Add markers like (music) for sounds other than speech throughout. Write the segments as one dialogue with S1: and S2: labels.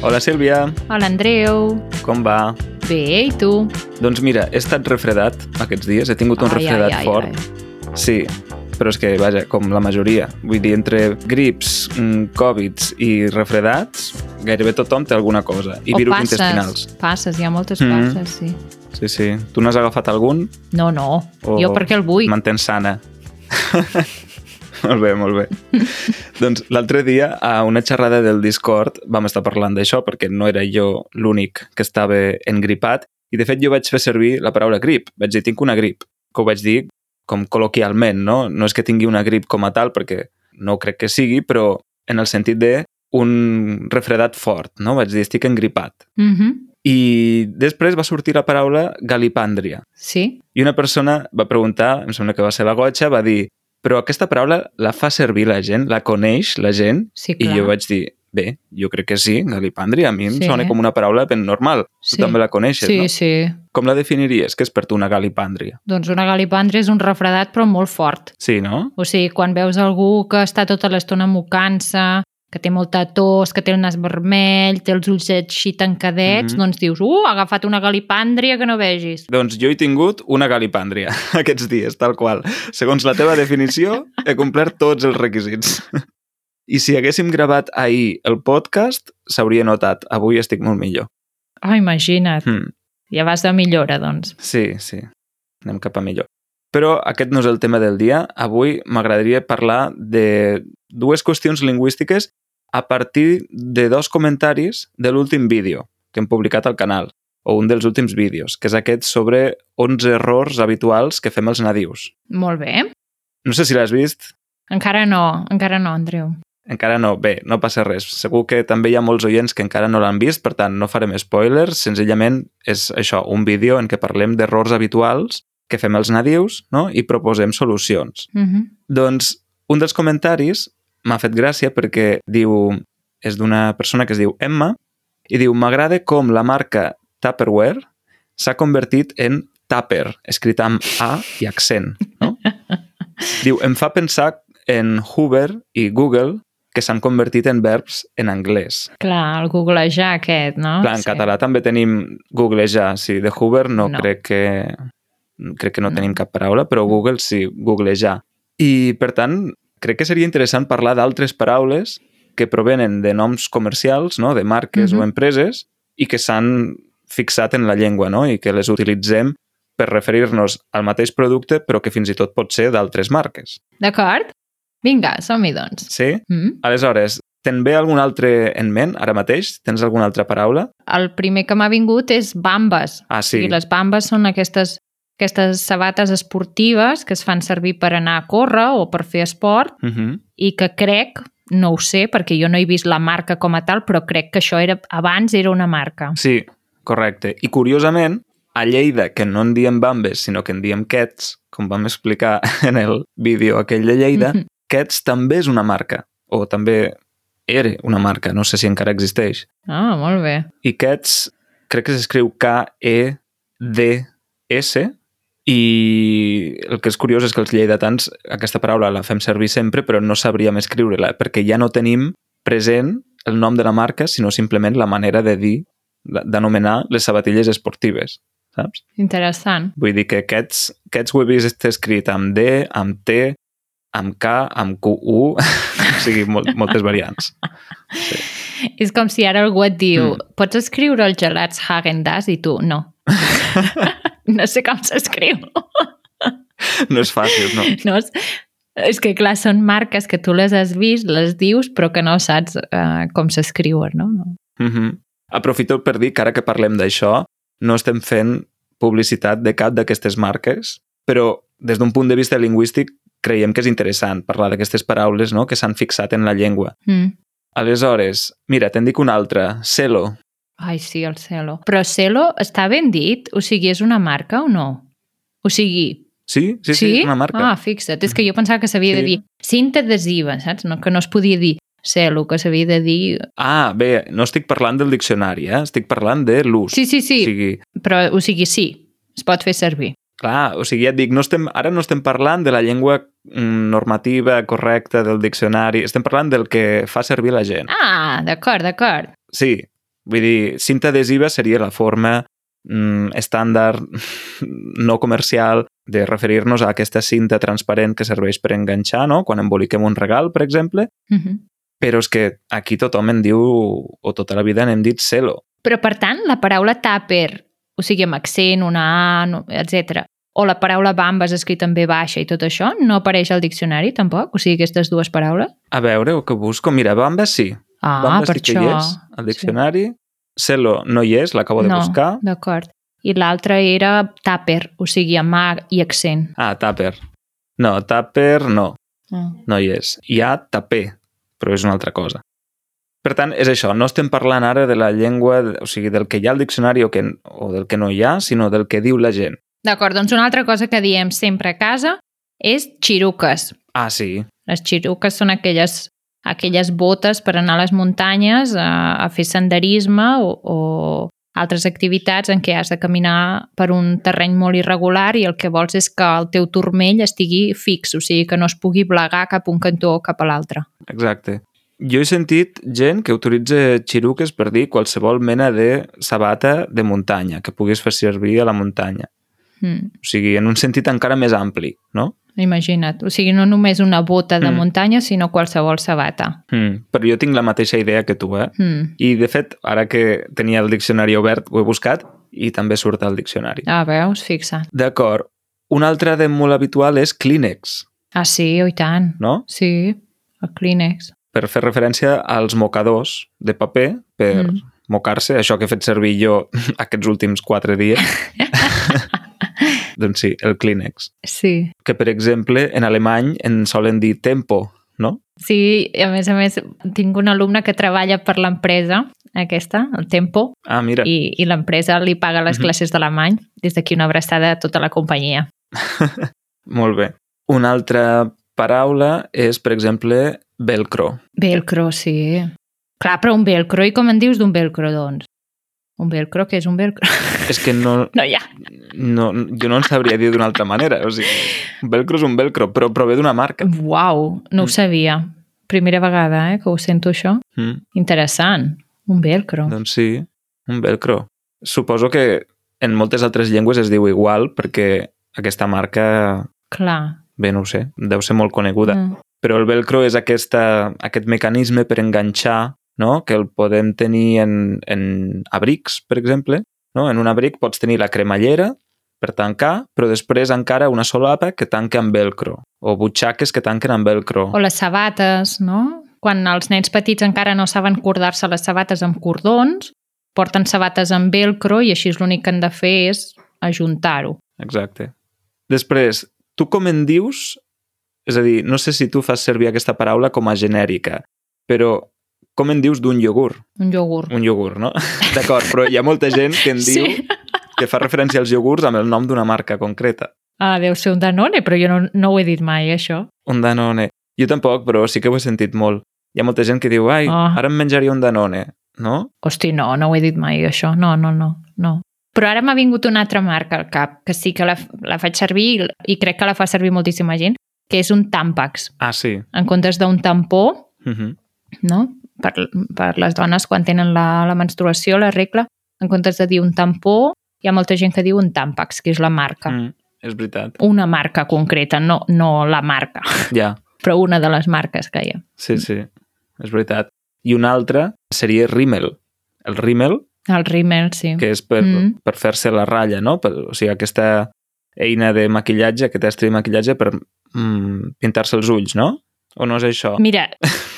S1: Hola, Sílvia.
S2: Hola, Andreu.
S1: Com va?
S2: Bé, i tu?
S1: Doncs mira, he estat refredat aquests dies, he tingut un
S2: Ai, ai,
S1: refredat
S2: ai,
S1: fort.
S2: ai.
S1: Sí, però és que, vaja, com la majoria. Vull dir, entre grips, mm, covids i refredats, gairebé tothom té alguna cosa. I
S2: o
S1: virus
S2: passes,
S1: intestinals.
S2: passes, hi ha moltes
S1: Mhm.
S2: passes, sí.
S1: Sí, sí. Tu n'has agafat algun?
S2: No, no,
S1: O
S2: jo perquè el vull.
S1: Mantens sana. molt bé, molt bé. doncs l'altre dia, a una xerrada del Discord, vam estar parlant d'això, perquè no era jo l'únic que estava engripat, i de fet jo vaig fer servir la paraula grip. Vaig dir, tinc una grip, que ho vaig dir com col·loquialment, no? No és que tingui una grip com a tal, perquè no crec que sigui, però en el sentit de un refredat fort, no? Vaig dir, estic engripat.
S2: Mhm,
S1: I després va sortir la paraula galipàndria.
S2: Sí,
S1: I una persona va preguntar, em sembla que va ser la Gocha, va dir, però aquesta paraula la fa servir la gent, la coneix la gent?
S2: sí,
S1: I
S2: clar.
S1: jo vaig dir, bé, jo crec que sí, galipàndria, a mi em
S2: Sí.
S1: sona com una paraula ben normal.
S2: Sí.
S1: Tu també la coneixes,
S2: Sí,
S1: no?
S2: sí.
S1: Com la definiries? Què és per tu una galipàndria?
S2: Doncs una galipandra és un refredat però molt fort.
S1: Sí, no?
S2: O sigui, quan veus algú que està tota l'estona mocant-se, que té molta tos, que té el nas vermell, té els ulls així tancadets,
S1: Mhm.
S2: doncs dius, uh, ha agafat una galipàndria que no vegis.
S1: Doncs jo he tingut una galipàndria (laughs) aquests dies, tal qual. Segons la teva definició, he complert tots els requisits. (laughs) I si haguéssim gravat ahir el podcast, s'hauria notat. Avui estic molt millor.
S2: Ah, imagina't.
S1: Hmm.
S2: Ja vas de millora, doncs.
S1: Sí, sí, anem cap a millor. Però aquest no és el tema del dia. Avui m'agradaria parlar de dues qüestions lingüístiques a partir de dos comentaris de l'últim vídeo que hem publicat al canal, o un dels últims vídeos, que és aquest sobre 11 errors habituals que fem els nadius.
S2: Molt bé.
S1: No sé si l'has vist,
S2: Encara no, encara no, Andreu.
S1: encara no. Bé, no passa res. Segur que també hi ha molts oients que encara no l'han vist, per tant, no farem spoilers. Senzillament és això, un vídeo en què parlem d'errors habituals que fem els nadius no? i proposem solucions.
S2: Uh
S1: Doncs un dels comentaris m'ha fet gràcia perquè diu... És d'una persona que es diu Emma i diu M'agrada com la marca Tupperware s'ha convertit en Tupper, escrita amb A i accent, no? Diu, em fa pensar en Hoover i Google que s'han convertit en verbs en anglès.
S2: Clar, el googlejar aquest, no?
S1: Clar, en català també tenim Google ja, sí, de Hoover Ah, no,
S2: No.
S1: no. crec que crec que no,
S2: No.
S1: no tenim cap paraula, però Google sí, Google ja. I, per tant, crec que seria interessant parlar d'altres paraules que provenen de noms comercials, no? de marques
S2: Mhm.
S1: o empreses, i que s'han fixat en la llengua, no? i que les utilitzem per referir-nos al mateix producte, però que fins i tot pot ser d'altres marques.
S2: D'acord? Vinga, som-hi, doncs.
S1: Sí?
S2: Mm?
S1: Aleshores, te'n ve algun altre en ment ara mateix? Tens alguna altra paraula?
S2: El primer que m'ha vingut és bambes.
S1: Ah, sí.
S2: I les bambes són aquestes, aquestes sabates esportives que es fan servir per anar a córrer o per fer esport
S1: Mhm.
S2: i que crec, no ho sé, perquè jo no he vist la marca com a tal, però crec que això era abans era una marca.
S1: Sí, correcte. I curiosament, a Lleida, que no en diem bambes, sinó que en diem quets, com vam explicar (laughs) en el vídeo aquell de Lleida,
S2: Mhm.
S1: quets també és una marca, o també era una marca, no sé si encara existeix.
S2: Ah, molt bé.
S1: I quets crec que s'escriu K-E-D-S, i el que és curiós és que els lleidatans aquesta paraula la fem servir sempre, però no sabríem escriure-la, perquè ja no tenim present el nom de la marca, sinó simplement la manera de dir, de- d'anomenar les sabatilles esportives, saps?
S2: Interessant.
S1: Vull dir que aquests, aquests ho he vist està escrit amb D, amb T, amb K, amb QU, (laughs) o sigui, mol, moltes variants.
S2: És com si ara algú et diu,
S1: Mm.
S2: mm. pots escriure els gelats Häagen-Dazs i tu,
S1: (laughs)
S2: no. no sé com s'escriu.
S1: No és fàcil, no?
S2: No és... és que, clar, són marques que tu les has vist, les dius, però que no saps eh, com s'escriuen, no? no?
S1: Mm -hmm. Aprofito per dir que ara que parlem d'això, no estem fent publicitat de cap d'aquestes marques, però des d'un punt de vista lingüístic creiem que és interessant parlar d'aquestes paraules no? que s'han fixat en la llengua.
S2: Mm.
S1: Aleshores, mira, te'n dic una altra, Celo.
S2: Ai, sí, el Celo. Però Celo està ben dit? O sigui, és una marca o no? O sigui...
S1: Sí, sí, sí, és una marca. Mm.
S2: Ah, fixa't. És que jo pensava que s'havia
S1: Sí.
S2: de dir cinta adhesiva, saps? No, que no es podia dir sé el que s'havia de dir.
S1: Ah, bé, no estic parlant del diccionari, eh? estic parlant de l'ús.
S2: Sí, sí, sí,
S1: O sigui,
S2: però o sigui, sí, es pot fer servir.
S1: clar, o sigui, ja et dic, no estem, ara no estem parlant de la llengua mm, normativa correcta del diccionari, estem parlant del que fa servir la gent.
S2: Ah, d'acord, d'acord.
S1: Sí, vull dir, cinta adhesiva seria la forma mm, estàndard (laughs) no comercial de referir-nos a aquesta cinta transparent que serveix per enganxar, no? Quan emboliquem un regal, per exemple,
S2: Uh
S1: però és que aquí tothom en diu, o tota la vida n'hem dit celo.
S2: Però, per tant, la paraula tàper, o sigui, amb accent, una A, no, etc. o la paraula bambes escrita en B baixa i tot això, no apareix al diccionari, tampoc? O sigui, aquestes dues paraules?
S1: A veure, o que busco, mira, Bamba sí.
S2: Ah,
S1: Bamba
S2: per
S1: sí que
S2: això.
S1: hi és, al diccionari. Celo no hi és, l'acabo de
S2: no,
S1: buscar.
S2: d'acord. I l'altra era tàper, o sigui, amb A i accent.
S1: Ah, tàper. No, tàper no.
S2: Ah.
S1: No hi és. Hi ha tapé, però és una altra cosa. Per tant, és això, no estem parlant ara de la llengua, o sigui, del que hi ha al diccionari o, que, o del que no hi ha, sinó del que diu la gent.
S2: D'acord, doncs una altra cosa que diem sempre a casa és xiruques.
S1: Ah, sí,
S2: Les xiruques són aquelles, aquelles botes per anar a les muntanyes a, a fer senderisme o, o altres activitats en què has de caminar per un terreny molt irregular i el que vols és que el teu turmell estigui fix, o sigui, que no es pugui plegar cap a un cantó o cap a l'altre.
S1: exacte. Jo he sentit gent que utilitza xiruques per dir qualsevol mena de sabata de muntanya, que puguis fer servir a la muntanya.
S2: Mm,
S1: O sigui, en un sentit encara més ampli, no?
S2: imagina't. O sigui, no només una bota de
S1: Mm.
S2: mm. muntanya, sinó qualsevol sabata.
S1: Mm. Però jo tinc la mateixa idea que tu, eh?
S2: Mm.
S1: I, de fet, ara que tenia el diccionari obert, ho he buscat i també surt al diccionari.
S2: Ah, veus? Fixa't.
S1: D'acord. Un altre de molt habitual és Kleenex,
S2: Ah, sí, oi tant.
S1: no?
S2: Sí, el Kleenex.
S1: Per fer referència als mocadors de paper per mm.
S2: Mm.
S1: mocar-se, això que he fet servir jo (laughs) aquests últims quatre (laughs) dies. doncs sí, el Kleenex.
S2: Sí.
S1: Que, per exemple, en alemany en solen dir tempo, no?
S2: Sí, i a més a més, tinc un alumne que treballa per l'empresa, aquesta, el Tempo,
S1: Ah, mira, I...
S2: i, i l'empresa li paga les
S1: Mhm.
S2: classes d'alemany. Des d'aquí una abraçada a tota la companyia.
S1: molt bé. Una altra paraula és, per exemple, velcro.
S2: Velcro, sí. Clar, però un velcro, i com en dius d'un velcro, doncs? Un velcro, que és un velcro? (laughs)
S1: És que no,
S2: No hi ha.
S1: no, jo no en sabria dir d'una altra manera. O sigui, velcro és un velcro, però prové d'una marca.
S2: Uau, no ho
S1: Mm.
S2: sabia. Primera vegada eh, que ho sento, això.
S1: Mm.
S2: Interessant. Un velcro.
S1: Doncs sí, un velcro. Suposo que en moltes altres llengües es diu igual perquè aquesta marca,
S2: Clar.
S1: bé, no ho sé, deu ser molt coneguda. Mm.
S2: Mm.
S1: Però el velcro és aquesta, aquest mecanisme per enganxar, no? que el podem tenir en, en abrics, per exemple. No? En un abric pots tenir la cremallera per tancar, però després encara una solapa que tanca amb velcro, o butxaques que tanquen amb velcro.
S2: O les sabates, no? Quan els nens petits encara no saben cordar-se les sabates amb cordons, porten sabates amb velcro i així l'únic que han de fer és ajuntar-ho.
S1: Exacte. Després, tu com en dius? És a dir, no sé si tu fas servir aquesta paraula com a genèrica, però com en dius d'un iogurt?
S2: Un iogurt.
S1: Un iogurt, no? (laughs) D'acord, però hi ha molta gent que en diu
S2: Sí.
S1: que fa referència als iogurts amb el nom d'una marca concreta.
S2: Ah, deu ser un Danone, però jo no, no ho he dit mai, això.
S1: Un Danone. Jo tampoc, però sí que ho he sentit molt. Hi ha molta gent que diu, ai,
S2: Ah.
S1: ara em menjaria un Danone, no?
S2: Hosti, no, no ho he dit mai, això. No, no, no, no. Però ara m'ha vingut una altra marca al cap, que sí que la, la faig servir i- i crec que la fa servir moltíssima gent, que és un Tampax.
S1: Ah, sí.
S2: En comptes d'un tampó,
S1: Uh -huh.
S2: no? per, per les dones quan tenen la, la menstruació, la regla, en comptes de dir un tampó, hi ha molta gent que diu un tampax, que és la marca. Mm.
S1: mm, és veritat.
S2: Una marca concreta, no, no la marca, (laughs)
S1: Ja,
S2: però una de les marques que hi ha.
S1: sí, sí, és veritat. I una altra seria Rimmel. El Rimmel
S2: El rímel, sí. Que...
S1: que és per, mm.
S2: Mhm.
S1: per fer-se la ratlla, no? Per, o sigui, aquesta eina de maquillatge, aquest estri de maquillatge per mm, pintar-se els ulls, no? O no és això? (laughs)
S2: Mira,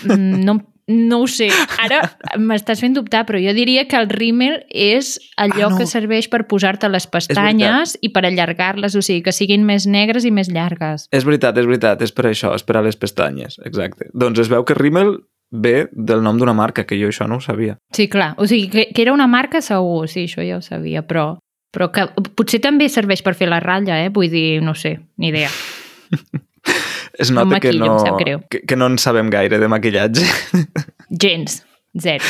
S2: mm, no, no ho sé. Ara m'estàs fent dubtar, però jo diria que el rímel és allò
S1: Ah, no.
S2: que serveix per posar-te les pestanyes i per allargar-les, o sigui, que siguin més negres i més llargues.
S1: És veritat, és veritat, és per això, és per a les pestanyes, exacte. Doncs es veu que Rimmel ve del nom d'una marca, que jo això no ho sabia.
S2: Sí, clar. O sigui, que, que era una marca segur, sí, això ja ho sabia, però, però que potser també serveix per fer la ratlla, eh? Vull dir, no sé, ni idea.
S1: Es
S2: Em
S1: nota que
S2: maquillo,
S1: no,
S2: em sap greu.
S1: que, que no en sabem gaire de maquillatge. (laughs)
S2: Gens. Zero.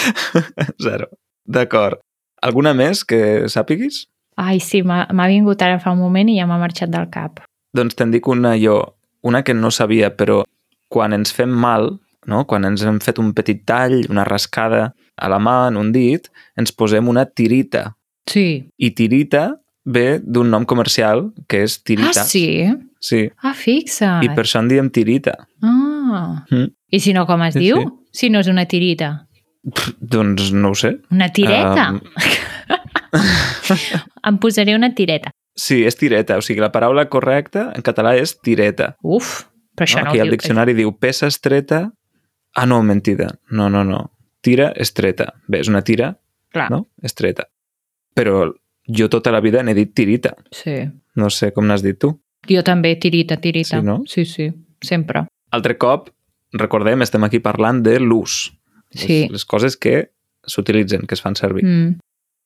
S1: Zero. D'acord. Alguna més que sàpiguis?
S2: Ai, sí, m'ha m'ha vingut ara fa un moment i ja m'ha marxat del cap.
S1: Doncs te'n dic una jo, una que no sabia, però quan ens fem mal, no? quan ens hem fet un petit tall, una rascada a la mà, en un dit, ens posem una tirita.
S2: Sí.
S1: I tirita ve d'un nom comercial que és tirita.
S2: Ah, sí?
S1: Sí.
S2: Ah, fixa't.
S1: I per això en diem tirita.
S2: Ah.
S1: Mm.
S2: I si no, com es
S1: Sí,
S2: diu?
S1: sí.
S2: Si no és una tirita.
S1: Doncs no ho sé.
S2: Una tireta?
S1: Em,
S2: (laughs) Em posaré una tireta.
S1: sí, és tireta. O sigui, la paraula correcta en català és tireta.
S2: Uf, però això
S1: No?
S2: no,
S1: Ah, Aquí
S2: ho
S1: al
S2: diu. eh.
S1: diccionari diu peça estreta... Ah, no, mentida. No, no, no. Tira estreta. Bé, és una tira,
S2: Clar,
S1: no? Estreta. Però jo tota la vida n'he dit tirita.
S2: sí.
S1: No sé com n'has dit tu.
S2: Jo també, tirita, tirita.
S1: Sí, no?
S2: sí, sí, sempre.
S1: Altre cop, recordem, estem aquí parlant de l'ús. Les-
S2: Sí.
S1: Les coses que s'utilitzen, que es fan servir.
S2: Mm.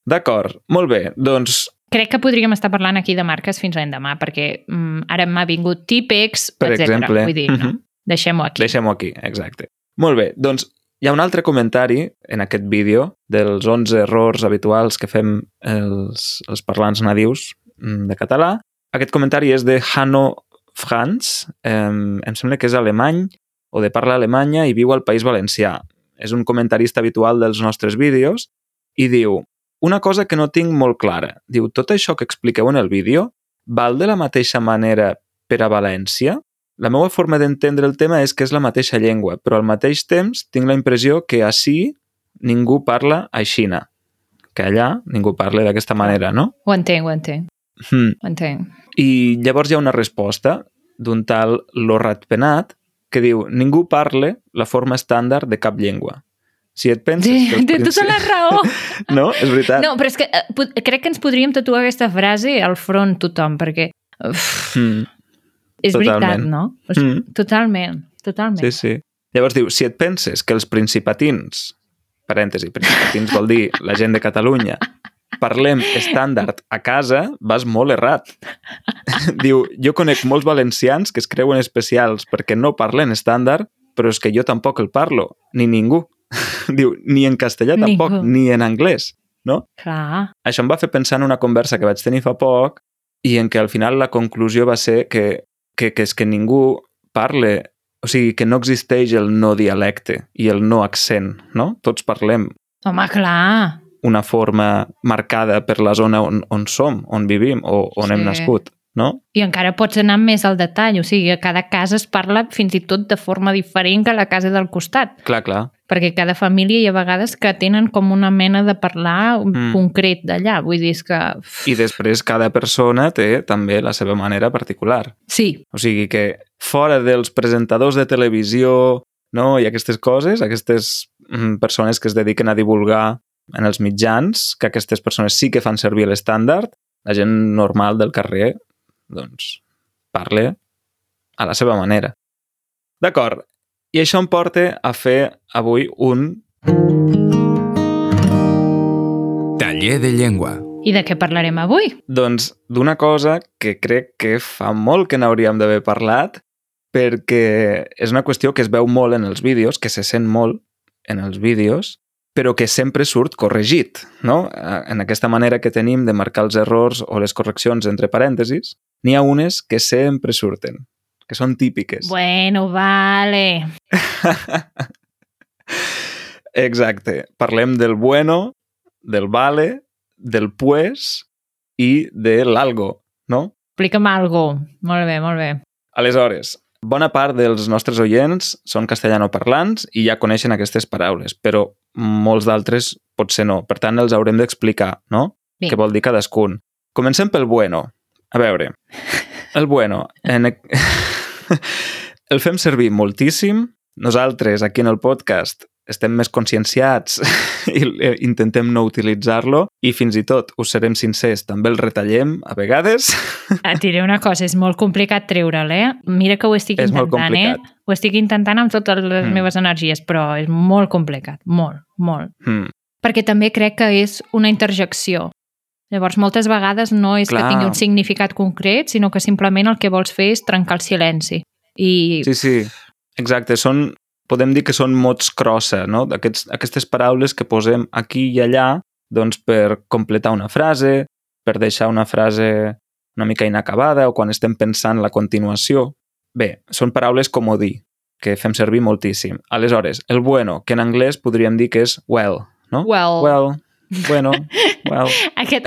S1: D'acord, molt bé. Doncs
S2: Crec que podríem estar parlant aquí de marques fins l'endemà, perquè mm, ara m'ha vingut típex,
S1: Per
S2: etcètera.
S1: exemple.
S2: Vull dir, no,
S1: Mhm.
S2: deixem-ho aquí.
S1: Deixem-ho aquí, exacte. Molt bé, doncs hi ha un altre comentari en aquest vídeo dels 11 errors habituals que fem els, els parlants nadius mm, de català. Aquest comentari és de Hanno Franz, eh, em sembla que és alemany o de parla alemanya i viu al País Valencià. És un comentarista habitual dels nostres vídeos i diu una cosa que no tinc molt clara. Diu, tot això que expliqueu en el vídeo val de la mateixa manera per a València? La meva forma d'entendre el tema és que és la mateixa llengua, però al mateix temps tinc la impressió que així ningú parla a Xina, que allà ningú parla d'aquesta manera, no?
S2: Ho entenc, ho entenc,
S1: Hmm.
S2: ho entenc.
S1: I llavors hi ha una resposta d'un tal Lorrat Penat que diu ningú parle la forma estàndard de cap llengua. Si et penses... que
S2: Té,
S1: els
S2: té tota
S1: princi-
S2: la raó.
S1: (laughs) No? És veritat.
S2: No, però és que eh, pot- crec que ens podríem tatuar aquesta frase al front tothom, perquè uf,
S1: Mm.
S2: és veritat,
S1: totalment.
S2: no? O sigui,
S1: Mm.
S2: Totalment, totalment.
S1: Sí, sí. Llavors diu, si et penses que els principatins, parèntesi, principatins vol dir la gent de Catalunya, parlem estàndard a casa, vas molt errat. (laughs) diu, jo conec molts valencians que es creuen especials perquè no parlen estàndard, però és que jo tampoc el parlo, ni ningú. (laughs) diu, ni en castellà tampoc,
S2: Ningú.
S1: ni en anglès.
S2: Clar,
S1: Això em va fer pensar en una conversa que vaig tenir fa poc i en què al final la conclusió va ser que, que, que és que ningú parle, o sigui, que no existeix el no dialecte i el no accent, no? Tots parlem
S2: home, clar.
S1: una forma marcada per la zona on, on som, on vivim o on sí. hem
S2: Sí.
S1: nascut, no?
S2: I encara pots anar més al detall, o sigui, a cada casa es parla fins i tot de forma diferent que la casa del costat,
S1: Clar, clar.
S2: perquè cada família hi ha vegades que tenen com una mena de parlar
S1: Mm.
S2: mm. concret d'allà, vull dir, és que... uf,
S1: I després cada persona té també la seva manera particular.
S2: Sí,
S1: O sigui que fora dels presentadors de televisió no? i aquestes coses, aquestes mm, persones que es dediquen a divulgar en els mitjans, que aquestes persones sí que fan servir l'estàndard, la gent normal del carrer doncs, parle a la seva manera. D'acord, i això em porta a fer avui un...
S3: Taller de llengua.
S2: i de què parlarem avui?
S1: Doncs d'una cosa que crec que fa molt que n'hauríem d'haver parlat, perquè és una qüestió que es veu molt en els vídeos, que se sent molt en els vídeos, però que sempre surt corregit, no? Eh, En aquesta manera que tenim de marcar els errors o les correccions entre parèntesis, n'hi ha unes que sempre surten, que són típiques.
S2: Bueno, vale.
S1: Exacte. Parlem del bueno, del vale, del pues i de l'algo, no?
S2: Explica'm algo. Molt bé, molt bé.
S1: Aleshores, bona part dels nostres oients són castellanoparlants i ja coneixen aquestes paraules, però molts d'altres potser no. Per tant, els haurem d'explicar, no?
S2: Vinga.
S1: Què vol dir cadascun. Comencem pel bueno. A veure, el bueno... En... e- (laughs) el fem servir moltíssim. Nosaltres, aquí en el podcast, estem més conscienciats (laughs) i eh, intentem no utilitzar-lo i fins i tot, us serem sincers, també el retallem a vegades. (laughs)
S2: Et diré una cosa, és molt complicat treure'l, eh? Mira que ho estic
S1: És molt
S2: intentant, eh?
S1: complicat.
S2: Ho estic intentant amb totes les
S1: Mm.
S2: meves energies, però és molt complicat, molt, molt.
S1: Hmm.
S2: Perquè també crec que és una interjecció. Llavors, moltes vegades no és
S1: Clar.
S2: que tingui un significat concret, sinó que simplement el que vols fer és trencar el silenci. I
S1: Sí, sí, exacte. Són, podem dir que són mots crossa, no? Aquests, aquestes paraules que posem aquí i allà doncs, per completar una frase, per deixar una frase una mica inacabada o quan estem pensant la continuació. Bé, són paraules com ho dir, que fem servir moltíssim. Aleshores, el bueno, que en anglès podríem dir que és well, no?
S2: well,
S1: Well, bueno, well.
S2: (laughs) Aquest,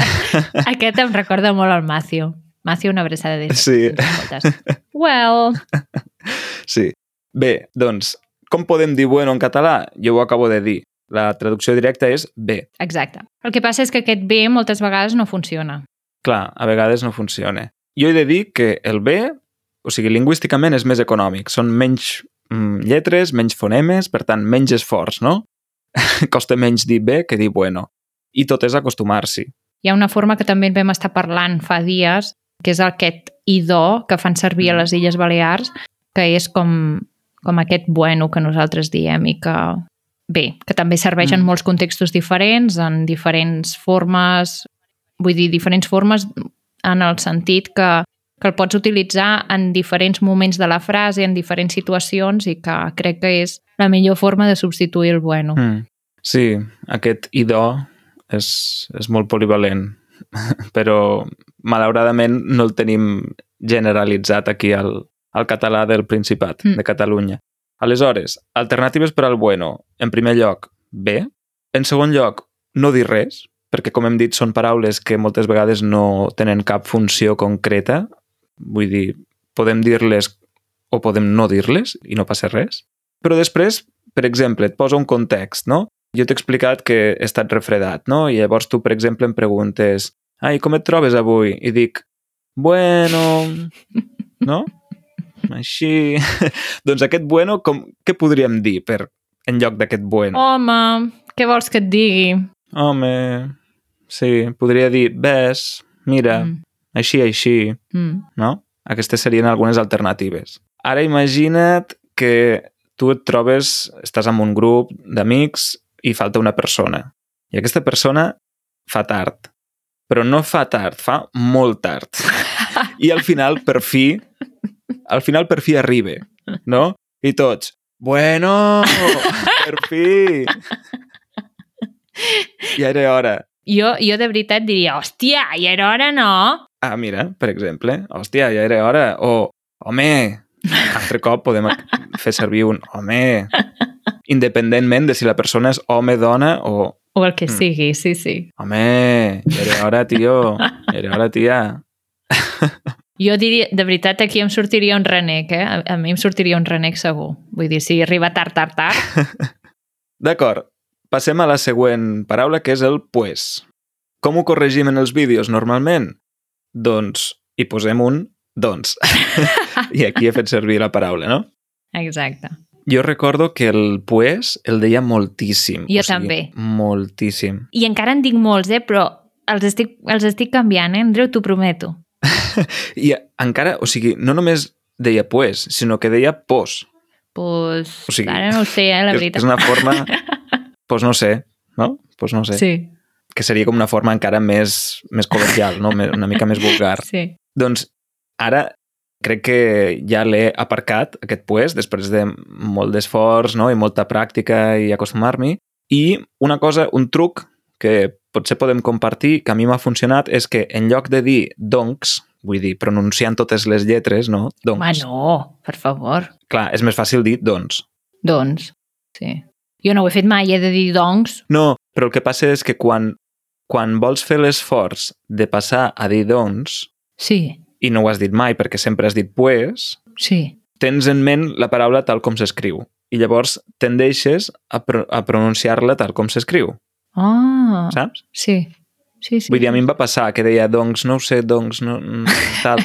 S2: aquest em recorda molt al Matthew. Matthew, una abraçada des
S1: Sí.
S2: Moltes. Well,
S1: Sí. Bé, doncs, com podem dir bueno en català? Jo ho acabo de dir. La traducció directa és bé.
S2: exacte. El que passa és que aquest bé moltes vegades no funciona.
S1: Clar, a vegades no funciona. Jo he de dir que el bé, o sigui, lingüísticament és més econòmic. Són menys mm, lletres, menys fonemes, per tant, menys esforç, no? (laughs) Costa menys dir bé que dir bueno. I tot és acostumar-s'hi.
S2: Hi ha una forma que també en vam estar parlant fa dies, que és aquest idò que fan servir a les Illes Balears, que és com, com aquest bueno que nosaltres diem i que, bé, que també serveix mm.
S1: Mm.
S2: en molts contextos diferents, en diferents formes, vull dir, diferents formes en el sentit que, que el pots utilitzar en diferents moments de la frase, en diferents situacions i que crec que és la millor forma de substituir el bueno. Mm.
S1: Mm. Sí, aquest idò és, és molt polivalent, (laughs) però malauradament no el tenim generalitzat aquí al, al català del Principat
S2: Mm.
S1: de Catalunya. Aleshores, alternatives per al bueno. En primer lloc, bé. En segon lloc, no dir res, perquè com hem dit són paraules que moltes vegades no tenen cap funció concreta. Vull dir, podem dir-les o podem no dir-les i no passa res. Però després, per exemple, et poso un context, no? Jo t'he explicat que he estat refredat, no? I llavors tu, per exemple, em preguntes «Ai, com et trobes avui?» i dic «Bueno...» no? Així... (laughs) doncs aquest bueno, com, què podríem dir per, en lloc d'aquest bueno?
S2: Home, què vols que et digui?
S1: Oh. Home... Sí, podria dir «Ves, mira, mm.
S2: Mm.
S1: així, així...»
S2: Mm.
S1: no? Aquestes serien algunes alternatives. Ara imagina't que tu et trobes, estàs amb un grup d'amics i falta una persona. I aquesta persona fa tard. Però no fa tard, fa molt tard. I al final, per fi, al final per fi arriba, no? I tots, bueno, per fi! Ja era hora.
S2: Jo, jo de veritat diria, hòstia, i era hora no?
S1: Ah, mira, per exemple, hòstia, ja era hora. O, home, altre cop podem fer servir un home, independentment de si la persona és home, dona o
S2: O el que
S1: Mm.
S2: mm. sigui, sí, sí.
S1: home, ja era hora, tio, ja era hora, tia.
S2: Jo diria, de veritat, aquí em sortiria un renec, eh? A, a mi em sortiria un renec segur. Vull dir, si arriba tard, tard, (laughs) tard...
S1: D'acord, passem a la següent paraula, que és el pues. Com ho corregim en els vídeos normalment? Doncs, hi posem un doncs. (laughs) I aquí he fet servir la paraula, no?
S2: Exacte.
S1: Jo recordo que el pues el deia moltíssim.
S2: Jo també.
S1: Moltíssim.
S2: I encara en dic molts, eh? Però els estic, els estic canviant, eh? Andreu, t'ho prometo.
S1: I encara, o sigui, no només deia pues, sinó que deia pos.
S2: Pues,
S1: O sigui,
S2: ara no ho sé, eh? La
S1: que és, que
S2: veritat.
S1: és una forma,
S2: (laughs)
S1: pues no sé, no? Pues no sé.
S2: Sí,
S1: Que seria com una forma encara més, més col·loquial, no? Me- una mica més vulgar.
S2: sí.
S1: Doncs ara crec que ja l'he aparcat, aquest pues, després de molt d'esforç no? i molta pràctica i acostumar-m'hi. I una cosa, un truc que potser podem compartir, que a mi m'ha funcionat, és que en lloc de dir donks, vull dir, pronunciant totes les lletres, no? Donks.
S2: Home, no, per favor.
S1: Clar, és més fàcil dir doncs.
S2: Doncs, sí. Jo no ho he fet mai, he de dir doncs.
S1: No, però el que passa és que quan, quan vols fer l'esforç de passar a dir doncs,
S2: Sí,
S1: i no ho has dit mai perquè sempre has dit pues,
S2: sí.
S1: tens en ment la paraula tal com s'escriu i llavors tendeixes a, pro a pronunciar-la tal com s'escriu,
S2: Ah,
S1: saps?
S2: sí. Sí, sí.
S1: Vull dir, a mi em va passar que deia doncs, no ho sé, doncs, no, mm,
S2: (laughs)
S1: tal.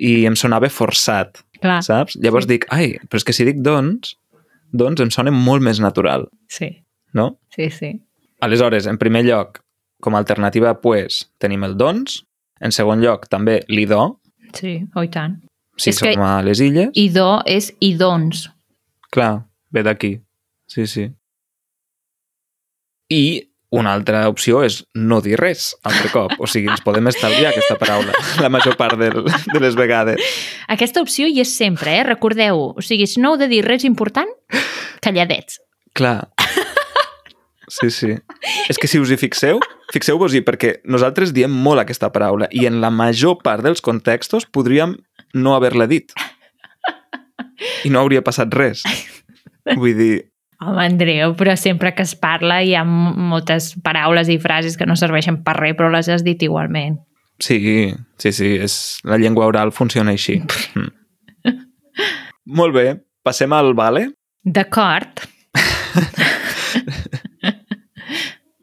S1: I em sonava forçat,
S2: Clar,
S1: saps? Llavors
S2: Ah. sí.
S1: dic, ai, però és que si dic doncs, doncs em sona molt més natural,
S2: sí,
S1: no?
S2: sí, sí.
S1: Aleshores, en primer lloc, com a alternativa, pues, tenim el doncs. En segon lloc, també l'idò,
S2: Sí, oh, i tant.
S1: si
S2: És
S1: som
S2: que-
S1: a les illes. I...
S2: Idò és idons.
S1: Clar, ve d'aquí. Sí, sí. I Una altra opció és no dir res, altre cop. O sigui, ens podem estalviar aquesta paraula (laughs) la major part del, de les vegades.
S2: Aquesta opció hi és sempre, eh? recordeu-ho. O sigui, si no heu de dir res important, calladets.
S1: Clar. Sí, sí. És que si us hi fixeu, fixeu-vos-hi, perquè nosaltres diem molt aquesta paraula i en la major part dels contextos podríem no haver-la dit. I no hauria passat res. Vull dir,
S2: Home, Andreu, però sempre que es parla hi ha m- moltes paraules i frases que no serveixen per res, però les has dit igualment.
S1: Sí, sí, sí, és... la llengua oral funciona així. Mm. Molt bé, passem al vale.
S2: D'acord.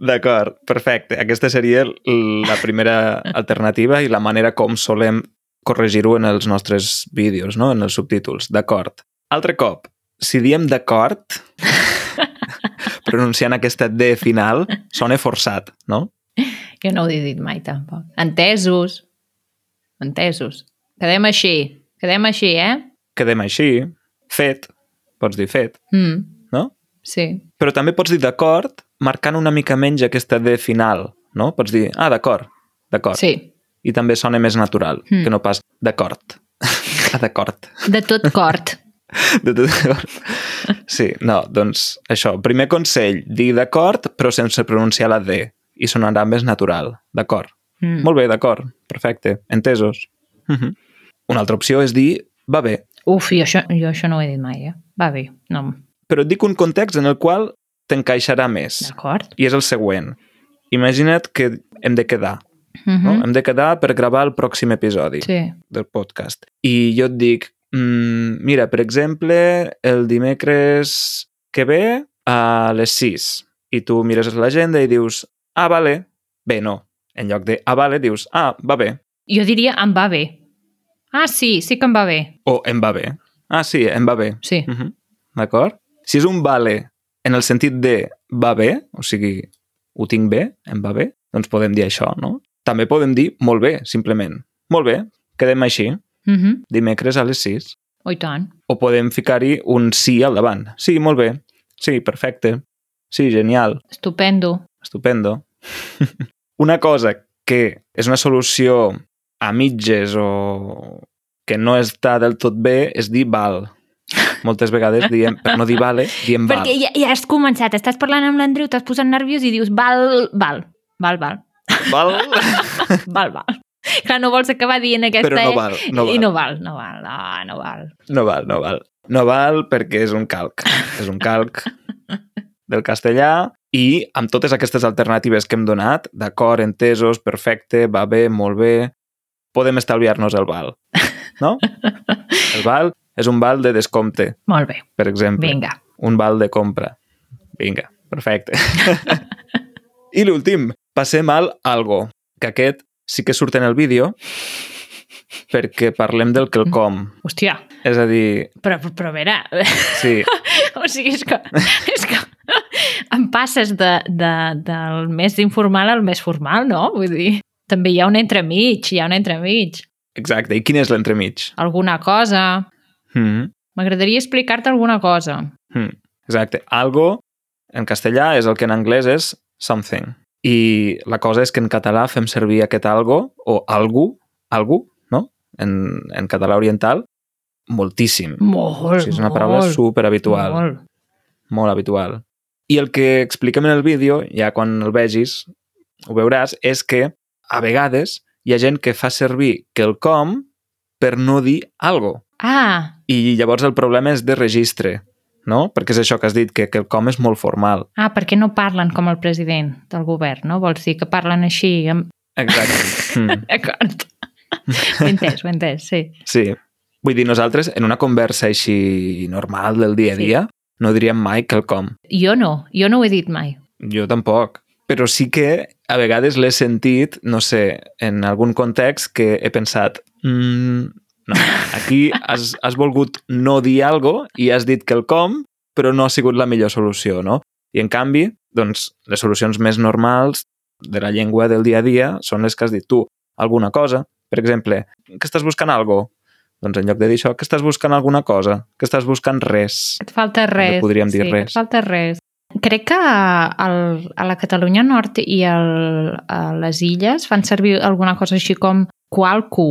S1: D'acord, perfecte. Aquesta seria l- la primera alternativa i la manera com solem corregir-ho en els nostres vídeos, no? en els subtítols. D'acord. Altre cop, si diem d'acord, pronunciant aquesta D final, sona forçat, no?
S2: Jo no ho he dit mai, tampoc. Entesos. Entesos. Quedem així. Quedem així, eh?
S1: Quedem així, fet, pots dir fet,
S2: Mm,
S1: no?
S2: sí.
S1: Però també pots dir d'acord marcant una mica menys aquesta D final, no? Pots dir, ah, d'acord, d'acord.
S2: Sí.
S1: I també sona més natural,
S2: Mm.
S1: que no pas d'acord. (laughs) ah, d'acord. (laughs)
S2: De tot cort.
S1: De tot d'acord. Sí, no, doncs això. Primer consell, dir d'acord però sense pronunciar la D i sonarà més natural. D'acord.
S2: Mm.
S1: Molt bé, d'acord. Perfecte. Entesos. Mhm. Una altra opció és dir, va bé,
S2: Uf, jo això, jo això no ho he dit mai, eh? Va bé, no.
S1: però et dic un context en el qual t'encaixarà més.
S2: D'acord.
S1: I és el següent. Imagina't que hem de quedar,
S2: Mm
S1: no? Hem de quedar per gravar el pròxim episodi sí.
S2: Sí.
S1: del podcast. I jo et dic, mm, mira, per exemple, el dimecres que ve a les 6 i tu mires l'agenda i dius, ah, vale, bé, no. En lloc de, ah, vale, dius, ah, va bé,
S2: Jo diria em va bé. Ah, sí, sí que em va bé.
S1: o em va bé. Ah, sí, em va bé.
S2: Sí.
S1: Mhm. D'acord? Si és un vale en el sentit de va bé, o sigui, ho tinc bé, em va bé, doncs podem dir això, no? També podem dir molt bé, simplement. Molt bé, quedem així,
S2: Mm -hmm.
S1: dimecres a les 6.
S2: Oh, i tant.
S1: O podem ficar-hi un sí al davant. Sí, molt bé. Sí, perfecte. Sí, genial.
S2: Estupendo.
S1: Estupendo. (laughs) una cosa que és una solució a mitges o que no està del tot bé és dir val. Moltes vegades diem, per no dir vale, diem val.
S2: Perquè ja, ja has començat, estàs parlant amb l'Andreu, t'has posat nerviós i dius val, val, val, val, (laughs)
S1: Val,
S2: val, val. (laughs) Clar, no vols acabar dient aquesta...
S1: però no val. No val.
S2: I no val, no val, no, no val.
S1: No val, no val. No val perquè és un calc. És un calc del castellà i amb totes aquestes alternatives que hem donat, d'acord, entesos, perfecte, va bé, molt bé, podem estalviar-nos el val, no? El val és un val de descompte,
S2: Molt bé,
S1: per exemple.
S2: vinga.
S1: Un val de compra. Vinga, perfecte. I l'últim, passem al algo, que aquest sí que surt en el vídeo perquè parlem del quelcom.
S2: Hòstia,
S1: És a dir,
S2: però, però a veure,
S1: sí,
S2: (laughs) O sigui, és que, és que em passes de, de, del més informal al més formal, no? Vull dir, també hi ha un entremig, hi ha un entremig.
S1: Exacte, i quin és l'entremig?
S2: Alguna cosa...
S1: Mm
S2: M'agradaria explicar-te alguna cosa.
S1: -hmm. Exacte, algo en castellà és el que en anglès és something. I la cosa és que en català fem servir aquest algo o algú, algú, no? En, en català oriental, moltíssim.
S2: Molt,
S1: O sigui, és una paraula
S2: molt,
S1: superhabitual, molt.
S2: Molt.
S1: molt habitual. I el que expliquem en el vídeo, ja quan el vegis, ho veuràs, és que a vegades hi ha gent que fa servir quelcom per no dir algo.
S2: Ah,
S1: I llavors el problema és de registre, no? Perquè és això que has dit, que, que el com és molt formal.
S2: ah, perquè no parlen com el president del govern, no? Vols dir que parlen així... Amb...
S1: Exacte. (laughs) Mm,
S2: D'acord. (laughs) Ho he entès, ho he entès, sí.
S1: sí. Vull dir, nosaltres, en una conversa així normal del dia a
S2: Sí.
S1: dia, no diríem mai que el com.
S2: Jo no, jo no ho he dit mai.
S1: Jo tampoc. Però sí que a vegades l'he sentit, no sé, en algun context que he pensat mm, no, aquí has, has volgut no dir algo i has dit que el com, però no ha sigut la millor solució, no? I en canvi, doncs, les solucions més normals de la llengua del dia a dia són les que has dit tu. Alguna cosa, per exemple, que estàs buscant algo? Doncs en lloc de dir això, que estàs buscant alguna cosa? Que estàs buscant res?
S2: Et falta
S1: També
S2: res.
S1: podríem dir
S2: sí,
S1: res.
S2: Et falta res. Crec que el, a la Catalunya Nord i el, a les illes fan servir alguna cosa així com qualcu,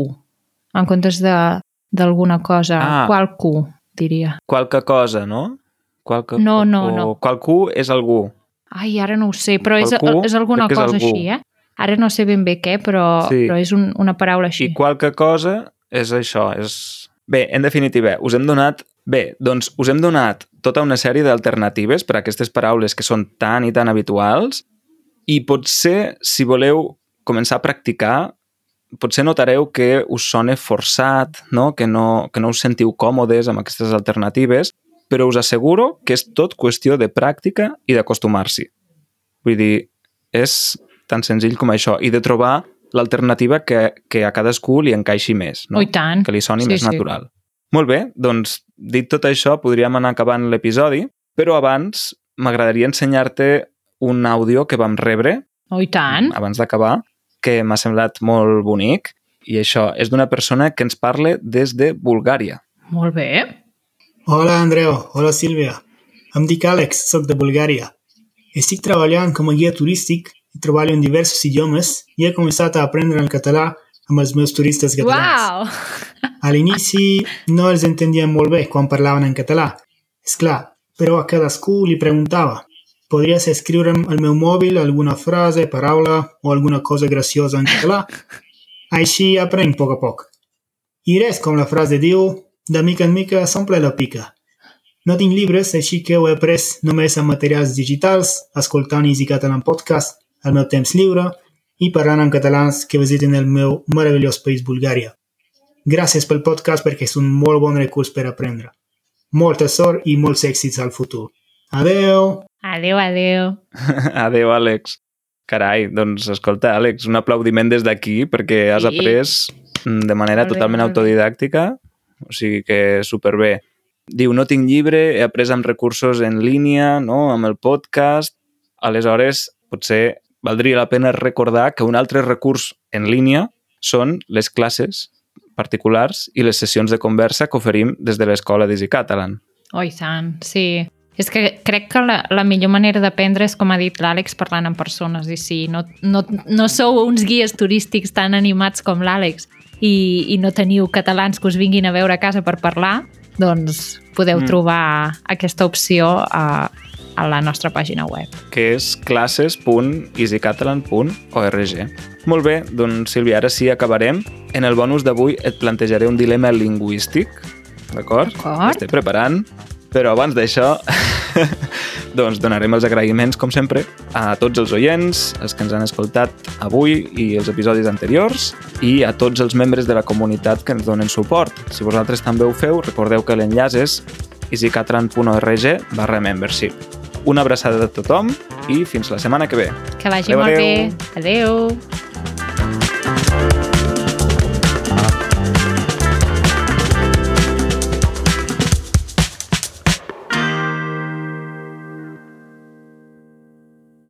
S2: en comptes de- d'alguna cosa.
S1: Ah.
S2: Qualcu, diria.
S1: Qualque cosa, no? Qualque,
S2: No, no, no.
S1: o Qualcú és algú.
S2: Ai, ara no ho sé, però és,
S1: Qualcú,
S2: és alguna
S1: crec que és
S2: cosa
S1: algú.
S2: així, eh? Ara no sé ben bé què, però,
S1: Sí.
S2: però és un, una paraula així.
S1: I qualque cosa és això, és... Bé, en definitiva, us hem donat... Bé, doncs us hem donat tota una sèrie d'alternatives per a aquestes paraules que són tan i tan habituals i potser, si voleu començar a practicar, potser notareu que us sona forçat, no? Que, no, que no us sentiu còmodes amb aquestes alternatives, però us asseguro que és tot qüestió de pràctica i d'acostumar-s'hi. Vull dir, és tan senzill com això, i de trobar l'alternativa que, que a cadascú li encaixi més,
S2: no.
S1: no?
S2: I tant.
S1: que li soni
S2: Sí,
S1: sí, més
S2: sí.
S1: natural. Molt bé, doncs, dit tot això, podríem anar acabant l'episodi, però abans m'agradaria ensenyar-te un àudio que vam rebre
S2: Oh, I tant.
S1: abans d'acabar, que m'ha semblat molt bonic. I això és d'una persona que ens parla des de Bulgària.
S2: Molt bé.
S4: Hola, Andreu. Hola, Sílvia. Em dic Àlex, sóc de Bulgària. Estic treballant com a guia turístic i treballo en diversos idiomes i he començat a aprendre el català amb els meus turistes catalans.
S2: Uau!
S4: A l'inici no els entendia molt bé quan parlaven en català, és clar, però a cadascú li preguntava podries escriure'm al meu mòbil alguna frase, paraula o alguna cosa graciosa en català? Així aprenc a poc a poc. I res, com la frase diu, de mica en mica s'omple la pica. No tinc llibres, així que ho he après només amb materials digitals, escoltant Easy Catalan Podcast, al meu temps lliure, i parlant amb catalans que visiten el meu meravellós país Bulgària. Gràcies pel podcast perquè és un molt bon recurs per aprendre. Molta sort i molts èxits al futur. Adeu!
S2: Adéu, adéu.
S1: (laughs) Adéu, Àlex. Carai, doncs escolta, Àlex, un aplaudiment des d'aquí perquè has
S2: Sí.
S1: après mm, de manera
S2: Molt bé,
S1: totalment
S2: molt bé.
S1: autodidàctica, o sigui que superbé. Diu, no tinc llibre, he après amb recursos en línia, no? amb el podcast... Aleshores, potser valdria la pena recordar que un altre recurs en línia són les classes particulars i les sessions de conversa que oferim des de l'Escola d'Easy Catalan.
S2: Oh, i tant, sí. És que crec que la, la millor manera d'aprendre és, com ha dit l'Àlex, parlant amb persones. I si no, no, no sou uns guies turístics tan animats com l'Àlex i, i no teniu catalans que us vinguin a veure a casa per parlar, doncs podeu
S1: Mm.
S2: mm. trobar aquesta opció a, a la nostra pàgina web.
S1: que és classes.easycatalan.org. Molt bé, doncs Sílvia, ara sí acabarem. En el bonus d'avui et plantejaré un dilema lingüístic, d'acord?
S2: D'acord.
S1: Estic preparant, però abans d'això (laughs) doncs donarem els agraïments, com sempre, a tots els oients, els que ens han escoltat avui i els episodis anteriors, i a tots els membres de la comunitat que ens donen suport. Si vosaltres també ho feu, recordeu que l'enllaç és easycatran.org barra membership. Una abraçada a tothom i fins la setmana que ve.
S2: Que vagi
S1: Adéu,
S2: molt
S1: adéu.
S2: bé. Adéu.